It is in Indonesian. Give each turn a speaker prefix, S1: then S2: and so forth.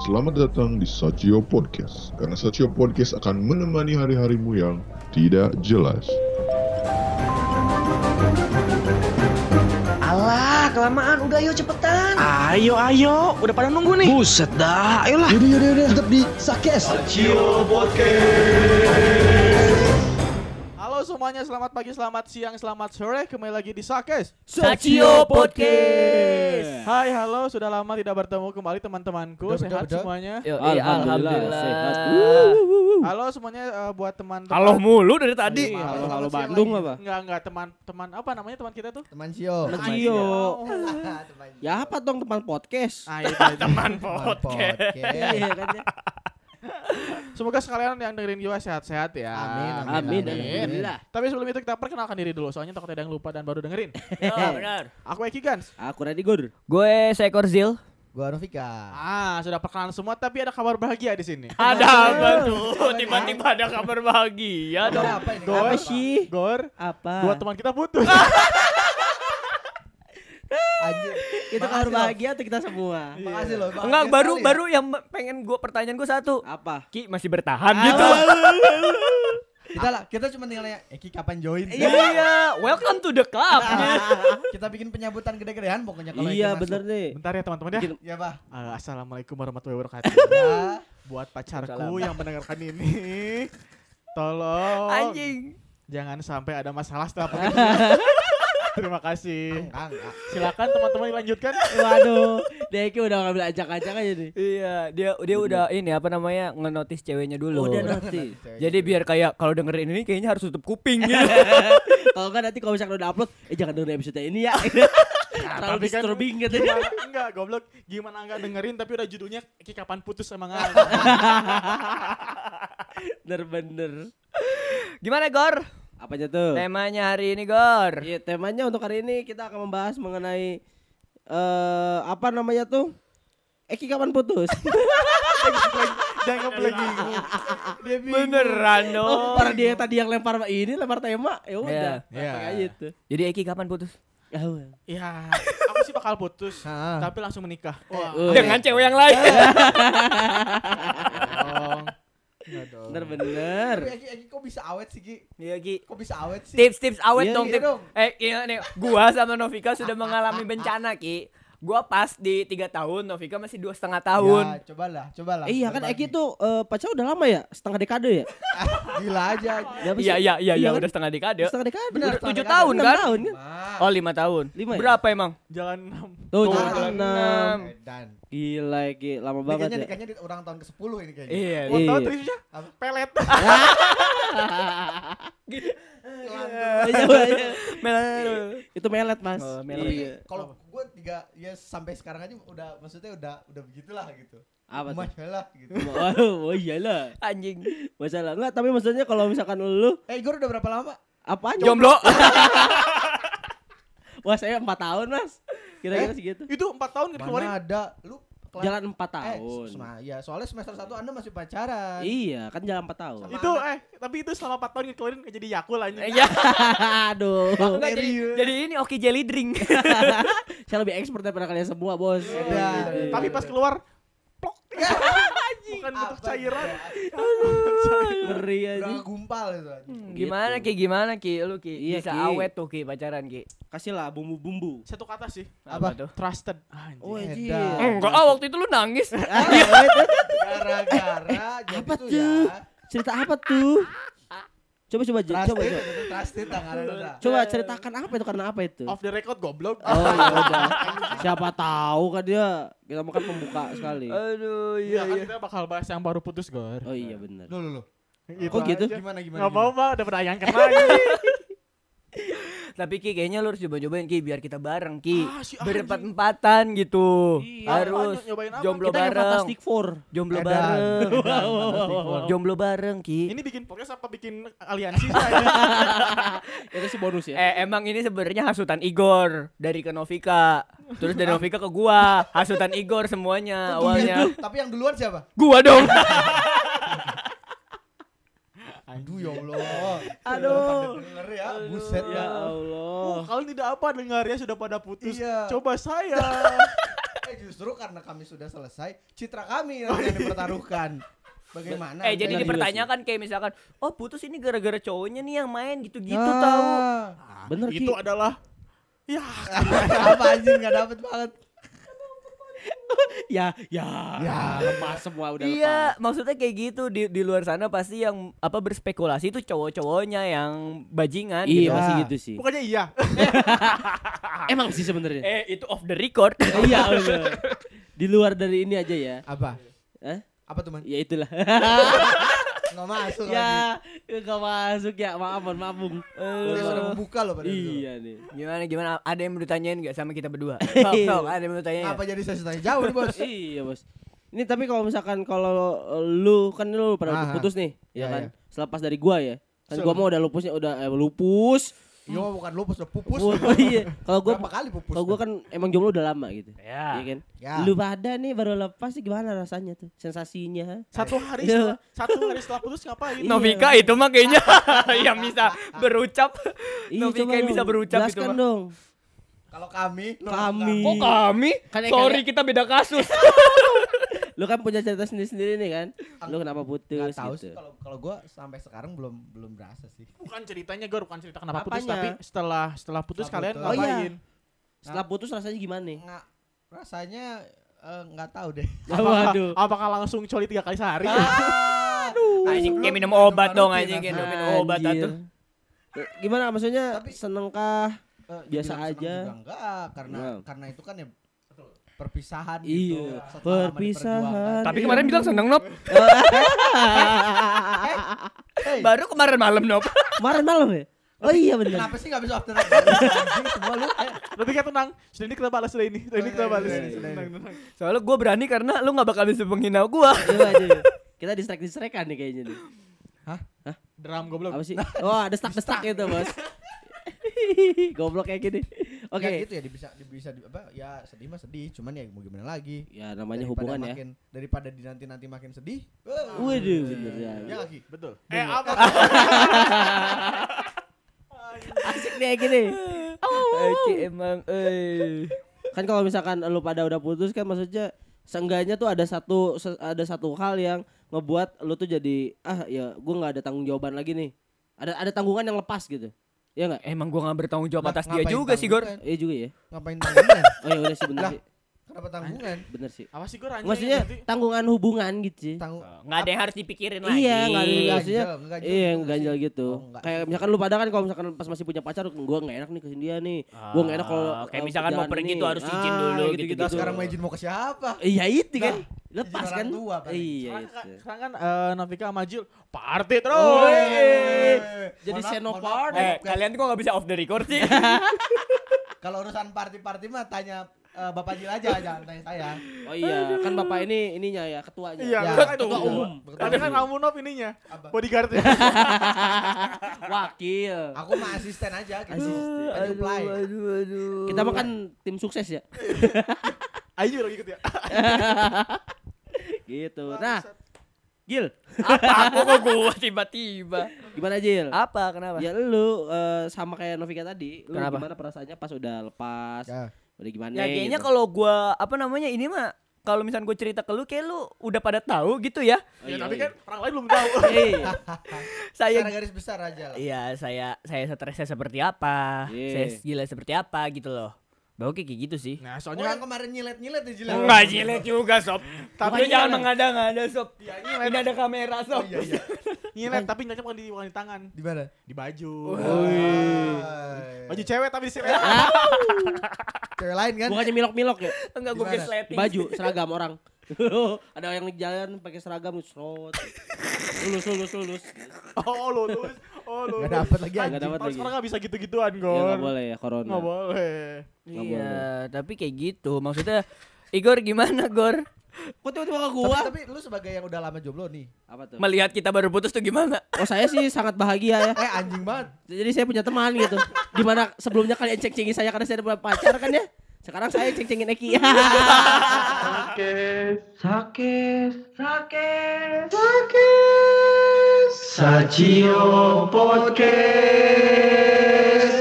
S1: Selamat datang di Sachio Podcast, karena Sachio Podcast akan menemani hari-harimu yang tidak jelas.
S2: Alah, kelamaan. Udah ayo cepetan.
S3: Ah.
S4: Ayo, ayo, udah pada nunggu nih. Buset dah, ayolah.
S2: Yaudah, yaudah, yaudah. Tetap di Sakes.
S5: Halo semuanya, selamat pagi, selamat siang, selamat sore. Kembali lagi di Sakes.
S4: Sachio Podcast.
S5: Hai, halo. Sudah lama tidak bertemu kembali teman-temanku. Sehat semuanya.
S6: Yo,
S4: Alhamdulillah,
S6: iya, alhamdulillah.
S4: sehat.
S5: Halo semuanya eh, buat teman-teman.
S4: Halo mulu dari tadi.
S5: Iya,
S4: Halo, halo
S5: selamat siang
S4: Bandung
S5: lagi.
S4: apa?
S5: Enggak, enggak teman-teman apa namanya teman kita tuh?
S6: Teman Sio.
S4: Sio.
S5: Oh.
S4: Ya apa dong teman podcast?
S5: Nah, itu aja.
S6: Podcast.
S5: Semoga sekalian yang dengerin juga sehat-sehat ya.
S6: Amin,
S4: Amin.
S6: Alhamdulillah.
S5: Tapi sebelum itu kita perkenalkan diri dulu, soalnya takutnya ada yang lupa dan baru dengerin.
S3: Oh,
S4: benar.
S5: Aku Eki Gans.
S4: Eh, Aku Radi Gur.
S7: Gue seekor zil.
S6: Gua Rofika.
S5: Ah, sudah perkenalan semua, tapi ada kabar bahagia di sini.
S3: Ada apa tuh? Tiba-tiba ada kabar bahagia dong.
S6: Apa ini?
S5: Gor,
S4: Apa sih?
S5: Gor,
S3: Ah.
S4: Apa?
S5: dua teman kita putus.
S6: Anjir.
S4: Itu
S6: Makasih,
S4: kabar
S6: Loh.
S4: bahagia atau kita semua?
S6: Makasih loh. Makasih
S3: Enggak, baru
S6: sekali ya.
S3: baru yang pengen gua pertanyaan gua satu.
S4: Apa?
S3: Ki masih bertahan gitu.
S6: Kita lah, kita cuma tinggal nanya Eki kapan join?
S3: Iya, welcome to the club.
S6: kita bikin penyambutan gede-gedean pokoknya kalau Eki masuk.
S4: Iya, bener deh.
S5: Bentar ya teman-teman ya.
S6: Iya, Pak.
S5: Eh, Assalamualaikum warahmatullahi wabarakatuh.
S6: Ya.
S5: Buat pacarku
S3: Waalaikumsalam.
S5: yang mendengarkan ini, tolong
S3: Anjing.
S5: jangan sampai ada masalah setelah pernikahan. Terima kasih.
S6: Enggak, enggak.
S5: Silakan teman-teman dilanjutkan.
S4: Waduh, Deki udah ngambil ajak-ajak aja nih.
S3: Iya, dia dia udah ini apa namanya? Ngenotis ceweknya dulu.
S4: Udah nanti.
S3: Jadi biar kayak kalau dengerin ini kayaknya harus tutup kuping gitu.
S4: Kalau enggak nanti kalau misalkan udah upload, eh jangan dengerin episode ini ya. Terlalu
S5: tapi kan-
S4: disturbing gitu.
S5: Gimana? Enggak, goblok. Gimana enggak dengerin tapi udah judulnya Ki kapan putus emang
S4: Bener-bener.
S3: Gimana, Gor?
S4: Apanya tuh?
S3: Temanya hari ini, Gor.
S4: Iya, temanya untuk hari ini kita akan membahas mengenai eh apa namanya tuh? Eki kapan putus?
S5: Jangan lagi.
S3: Beneran dong.
S4: Oh, para dia tadi yang lempar ini lempar tema. Ya udah,
S5: Iya.
S4: kayak
S5: Iya.
S4: gitu. Oh,
S3: Jadi Eki kapan putus?
S4: Iya.
S5: Ya, aku sih bakal putus,
S6: Ah.
S5: tapi langsung menikah. Wah,
S4: Oh,
S3: Iya. Dengan cewek yang lain.
S5: dong.
S4: bener-bener.
S6: Tapi Eki, Eki kok bisa awet sih, Ki?
S3: Iya, Ki.
S6: Kok bisa awet sih?
S3: Tips-tips awet
S4: Iya,
S3: dong,
S4: iya
S3: tips.
S6: dong.
S3: Eh, iya nih, gua sama Novika sudah mengalami bencana, Ki. Gua pas di tiga tahun, Novika masih dua setengah
S6: Ya,
S3: tahun.
S6: cobalah, cobalah.
S4: Eh, iya kan
S6: Berbagi.
S4: Eki tuh eh, pacar udah lama ya? Setengah dekade ya?
S6: Gila aja.
S4: Ya, apa sih?
S3: Iya, iya, iya,
S4: Iya
S3: iya,
S4: kan?
S3: udah setengah dekade.
S4: Setengah dekade.
S6: Bener,
S4: Udah
S3: Tujuh
S6: setengah
S3: tahun
S4: enam
S3: kan?
S4: tahun kan?
S6: Mah.
S3: Oh, lima tahun.
S4: Lima ya?
S3: Berapa emang?
S5: Jalan 6.
S4: Tuh,
S3: Tuh,
S4: jalan
S6: jalan
S4: enam.
S6: Dan
S4: Gila, Eki. Lama banget
S6: nikahnya
S4: ya.
S6: nikahnya di orang tahun ke-10 ini kayaknya.
S3: Iya.
S5: Mau tahu
S4: Iya.
S5: trisnya? Pelet.
S6: Lantai.
S4: Iya, iya.
S3: Mel-
S4: Itu melet, Mas.
S3: Oh, melet.
S6: Tapi
S4: Iya.
S6: kalau gue tiga ya sampai sekarang aja udah maksudnya udah udah begitulah gitu.
S4: Apa tuh?
S6: Masalah gitu.
S4: Oh, oh iyalah.
S3: Anjing.
S4: Masalah enggak, tapi maksudnya kalau misalkan lu
S6: Eh, Igor udah berapa lama?
S4: apaan?
S3: Jomblo.
S4: Wah, saya 4 tahun, Mas. Kira-kira segitu.
S5: Itu 4 tahun dikeluarin.
S6: Mana ada lu kelas-
S4: Jalan 4
S6: eh,
S4: tahun.
S6: sema- ya soalnya semester 1 Anda masih pacaran.
S4: Iya, kan jalan 4 tahun.
S6: Sama-
S5: Itu eh tapi itu selama 4 tahun dikeluarin nggak jadi Yakul anjing.
S3: Iya.
S4: Aduh.
S3: Enggak, jadi, jadi ini oke jelly drink.
S4: Saya lebih expert daripada kalian semua, Bos.
S6: Iya.
S4: Iya.
S5: Tapi pas keluar plok. Bukan
S6: Apa
S5: bentuk cairan.
S6: juga.
S4: iya. ngeri aja.
S6: Udah gumpal itu aja.
S3: Gimana Ki? Gimana Ki? Lu Ki
S4: Iya,
S3: bisa
S4: Ki.
S3: awet tuh Ki pacaran Ki.
S4: Kasihlah bumbu-bumbu.
S5: Satu kata sih.
S6: Apa?
S3: tuh?
S5: Trusted. Anjing.
S4: Oh,
S6: Edan.
S4: iya.
S3: Enggak, ah waktu itu lu nangis.
S6: Gara-gara jadi
S4: Apa
S6: tuh
S4: tuh?
S6: ya.
S4: Cerita apa tuh? Coba coba coba coba.
S6: Trusted, itu trusted tangannya tuh. Ra.
S3: Eh,
S4: Coba ceritakan apa itu karena apa itu?
S5: Off the record goblok.
S4: Oh ya udah. Siapa tahu kan dia kita makan pembuka sekali.
S3: Aduh, iya
S5: Iya, kan
S3: iya.
S5: kita bakal bahas yang baru putus, Gor.
S4: Oh iya benar.
S6: Loh, loh, loh.
S5: Gitu
S4: Kok gitu?
S5: aja.
S6: Gimana gimana?
S5: Nggak
S6: gimana?
S5: mau, Pak. Udah pernah yang kena. anjing.
S3: Tapi Ki kayaknya lu harus coba-cobain Ki biar kita bareng Ki.
S5: Ah, si anjing.
S3: Berempat-empatan gitu.
S4: Iya.
S3: Harus
S5: Apa, nyobain apa?
S3: jomblo
S4: Kita yang
S3: bareng.
S4: Fantastic Four.
S3: Jomblo
S6: Edan.
S3: bareng.
S6: Edan, Fantastic Four.
S3: Jomblo bareng Ki.
S5: Ini ya? bikin podcast apa bikin aliansi sih, anjing?
S4: Itu sih bonus ya.
S3: Eh emang ini sebenarnya hasutan Igor dari ke Novika. Terus dari Novika ke gua. Hasutan Igor semuanya awalnya.
S6: Tapi yang duluan siapa?
S3: Gua dong.
S6: Aduh ya Allah.
S4: Aduh.
S6: Sampai denger ya. Buset
S4: Ya
S6: dah.
S4: Allah.
S5: Oh, kalian tidak apa dengarnya sudah pada putus.
S6: Iya.
S5: Coba saya.
S6: Makanya justru karena kami sudah selesai, citra kami yang akan dipertaruhkan. Bagaimana?
S4: Nah,
S3: Eh jadi
S6: Anda-
S3: dipertanyakan kayak misalkan, oh putus ini gara-gara cowoknya nih yang main gitu-gitu
S6: Ah,
S3: tahu.
S4: Bener, Ki.
S5: Itu adalah ya
S6: Apa anjing enggak dapat banget.
S4: ya, ya, ya, lepas semua udah
S3: Iya, maksudnya kayak gitu di di luar sana pasti yang apa berspekulasi itu cowok-cowoknya yang bajingan
S4: Iya
S3: gitu.
S4: masih gitu sih.
S5: bukannya iya.
S4: Emang sih sebenarnya.
S3: Eh itu off the record.
S4: iya bener. Di luar dari ini aja ya.
S6: Apa?
S4: Hah?
S6: Apa tuh, Man?
S4: Ya itulah.
S6: Enggak masuk
S3: Iya.
S6: lagi.
S4: ya, gak masuk ya. Maaf, Mon, maaf,
S3: Eh,
S4: Bung.
S6: Dia sudah membuka loh pada itu.
S4: Iya nih.
S3: gimana gimana? Ada yang mau ditanyain nggak sama kita berdua? Sok, sok, ada yang mau ditanyain?
S6: Apa jadi saya tanya jauh nih, Bos?
S4: iya bos. Ini tapi kalau misalkan kalau eh, lu kan
S6: Ah.
S4: lu pernah putus nih,
S6: Iya,
S4: ya kan?
S6: iya.
S4: Selepas dari gua ya. Kan
S6: Sel-
S4: gua mau udah lupusnya udah eh, lupus.
S6: Yo Iya, bukan lupus, udah pupus.
S4: Oh, iya. Kalau gua
S6: Berapa kali pupus?
S4: kalau gua kan emang jomblo udah lama gitu.
S3: Ya.
S4: Iya kan?
S6: Ya.
S4: Lu pada nih baru lepas sih gimana rasanya tuh? Sensasinya?
S5: Satu hari
S4: Iya.
S5: setelah, satu hari setelah putus ngapain?
S3: Iya. Novika itu mah kayaknya yang bisa berucap.
S4: Ih,
S3: Novika
S4: Iya, coba
S3: yang
S4: dong,
S3: bisa berucap gitu
S4: jelaskan
S3: mah.
S4: dong.
S6: Kalau kami, lo
S4: Kami.
S3: Kok kami?
S4: Kan ya,
S3: Sorry
S4: kan
S3: kita beda kasus.
S4: Lu kan punya cerita sendiri-sendiri nih kan? Lu kenapa putus
S6: Gak tahu sih
S4: gitu?
S6: kalau kalau gue sampai sekarang belum belum berasa sih.
S5: Bukan ceritanya gue bukan cerita kenapa putus
S4: Apanya?
S5: tapi setelah setelah putus
S6: Setelah
S5: kalian
S6: putus.
S4: Oh, iya.
S5: ngapain?
S4: Setelah putus rasanya gimana nih?
S6: Nggak rasanya eh, nggak tahu deh.
S5: Apakah,
S4: Waduh.
S5: apakah langsung coli tiga kali sehari?
S3: Anjing kayak minum
S6: Minum
S3: obat dong
S6: karotin,
S3: anjing kayak
S6: Anjir.
S3: minum obat
S4: Anjir.
S3: tuh.
S4: Eh, Gimana maksudnya
S6: Tapi-
S4: senengkah?
S6: Eh,
S4: Biasa
S6: dibilang senang
S4: aja.
S6: Juga enggak karena
S4: Wow.
S6: karena itu kan ya perpisahan gitu.
S4: Iya,
S6: setelah lama
S4: perpisahan.
S6: diperjuangkan.
S3: Tapi kemarin Kan bilang seneng Nop.
S4: Iya.
S6: Hey,
S3: Baru kemarin malam Nop.
S4: Eh, Kemarin malam ya? Oh iya benar.
S6: kenapa sih nggak bisa after anjing semua lu? Iya, Eh,
S5: Novika tenang. Sudah ini kita balas sudah ini. Sudah ini kita
S6: Sudah
S5: balas.
S6: ini, sudah ini.
S5: Tenang, tenang.
S3: Soalnya gue berani karena lu gak bakal bisa menghina gue.
S4: Coba aja. Iya, Kita distrack distrakan nih kayaknya nih.
S5: Drum goblok.
S4: Apa sih? Wah, ada stuck stuck itu, Bos. Goblok kayak gini. Oke.
S6: nggak gitu ya bisa bisa di- apa ya sedih mah sedih, cuman ya mau gimana lagi.
S4: Ya namanya
S6: Daripada
S4: hubungan ya.
S6: makin, Daripada di nanti-nanti makin sedih.
S4: Waduh, bener ya.
S6: Ya lagi.
S5: Betul. Eh apa?
S4: Asik nih kayak gini.
S3: Oke emang eh.
S4: Kan kalau misalkan lu pada udah putus kan maksudnya seenggaknya tuh ada satu se- ada satu hal yang ngebuat lu tuh jadi ah ya gua nggak ada tanggung jawaban lagi nih. Ada ada tanggungan yang lepas gitu. Iya enggak?
S3: Emang gue gak bertanggung jawab
S6: Lah,
S3: atas dia
S6: ngapain
S3: juga sih Gor.
S6: tanggungan?
S4: Iya juga ya.
S6: Ngapain tanggungan?
S4: Oh ya udah sih bener
S6: Lah,
S4: sih.
S6: Kenapa tanggungan?
S4: Bener sih.
S5: Apa sih gue anjing?
S4: Maksudnya
S5: Nanti-
S4: tanggungan hubungan gitu sih.
S6: Tanggung
S3: Gak ada yang harus dipikirin lagi. Eh,
S4: Iya, nggak ada maksudnya
S6: Ganjel, ngeganjel gitu
S4: iya yang
S6: nggak
S4: ganjal
S6: sih?
S4: gitu.
S6: Oh, nggak.
S4: kayak misalkan lu pada kan kalau misalkan pas masih punya pacar gua nggak enak nih ke dia nih. Gua nggak enak kalau
S3: Ah, kayak
S4: eh,
S3: misalkan mau
S4: kerjaan
S3: pergi
S4: ini.
S3: tuh harus izin
S4: Ah,
S3: dulu, gitu-gitu.
S6: Nah, sekarang mau izin mau ke siapa?
S4: Iya itu kan.
S6: Nah,
S4: Lepas
S6: izin
S4: kan.
S6: orang tua paling.
S4: Iya
S5: Sekarang,
S4: itu.
S5: sekarang kan eh, Novika sama Jul party terus.
S3: Woi.
S4: Jadi
S6: Mohon maaf, mohon maaf,
S4: senopar.
S3: Eh
S6: mohon maaf, guys.
S3: kalian tuh kok gak bisa off the record sih?
S6: Kalau urusan party-party mah tanya eh, Bapak Jil aja, jangan tanya saya.
S4: Oh iya, kan bapak ini ininya ya ketuanya.
S5: Iya,
S6: Ya,
S5: ketua,
S6: ketua
S5: umum.
S6: umum.
S5: Tapi kan kamu Nov ininya.
S6: Apa?
S5: Bodyguardnya.
S4: Wakil.
S6: Aku mah asisten aja gitu.
S4: Asisten.
S6: Aja apply.
S4: Kita makan tim sukses ya.
S5: Ayo lagi ikut ya.
S4: Gitu. Nah, Gil, Ah,
S3: Apa aku kok gue tiba-tiba?
S4: gimana Gil?
S3: Apa kenapa?
S4: Ya lu eh, sama kayak Novika tadi, lu
S3: Kenapa?
S4: gimana perasaannya pas udah lepas?
S6: Ya.
S4: Udah gimana?
S3: Ya kayaknya
S4: gitu?
S3: kalau gua apa namanya ini mah kalau misalnya gue cerita ke lu kayak lu udah pada tahu gitu ya.
S4: Oh,
S5: Ya,
S4: iya,
S5: tapi
S4: iya.
S5: kan orang lain belum tahu.
S4: Iya.
S3: Saya
S6: Secara garis besar aja lah.
S3: iya saya saya stresnya seperti apa,
S4: Iya.
S3: saya gila seperti apa gitu loh. Bahwa kayak gitu sih.
S5: Nah,
S6: Oh,
S5: soalnya kan
S6: yang kemarin nyilet-nyilet ya Jil.
S3: Enggak jelek juga sob. Tapi
S4: Bukan
S3: jangan
S4: jelek.
S3: mengada-ngada sob.
S6: Iya, nyilet.
S3: Ini ada kamera
S6: Oh
S3: sob.
S6: iya iya.
S5: nyilet tapi nyiletnya bukan di bukan di tangan,
S6: Di mana?
S5: di baju.
S6: Woi.
S5: Baju cewek tapi disilet.
S6: cewek lain kan?
S4: Bukannya milok-milok ya?
S3: Enggak gue
S6: Gimana?
S3: gesleting.
S4: Baju, seragam orang. Ada yang jalan pakai seragam serot. Lulus lulus lulus.
S5: Oh, lulus. Oh, lulus.
S6: Gak dapet lagi,
S5: Anjing,
S4: gak dapet
S5: tahun
S4: lagi.
S5: Sekarang gak bisa gitu-gituan,
S4: Ya
S5: Gor.
S4: nggak boleh ya corona.
S5: Nggak boleh.
S4: Nggak
S3: Iya, tapi kayak gitu. Maksudnya Igor gimana Gor?
S4: Kok tiba-tiba ke
S6: Tapi,
S4: gua?
S6: tapi lu sebagai yang udah lama jomblo nih.
S4: Apa tuh?
S3: Melihat kita baru putus tuh gimana?
S4: Oh saya sih sangat bahagia ya.
S6: Eh anjing banget.
S4: Jadi saya punya teman gitu. Dimana sebelumnya kalian ceng-cengin saya karena saya ada pacar kan ya? Sekarang saya ceng-cengin Eki.
S2: Sachio Podcast.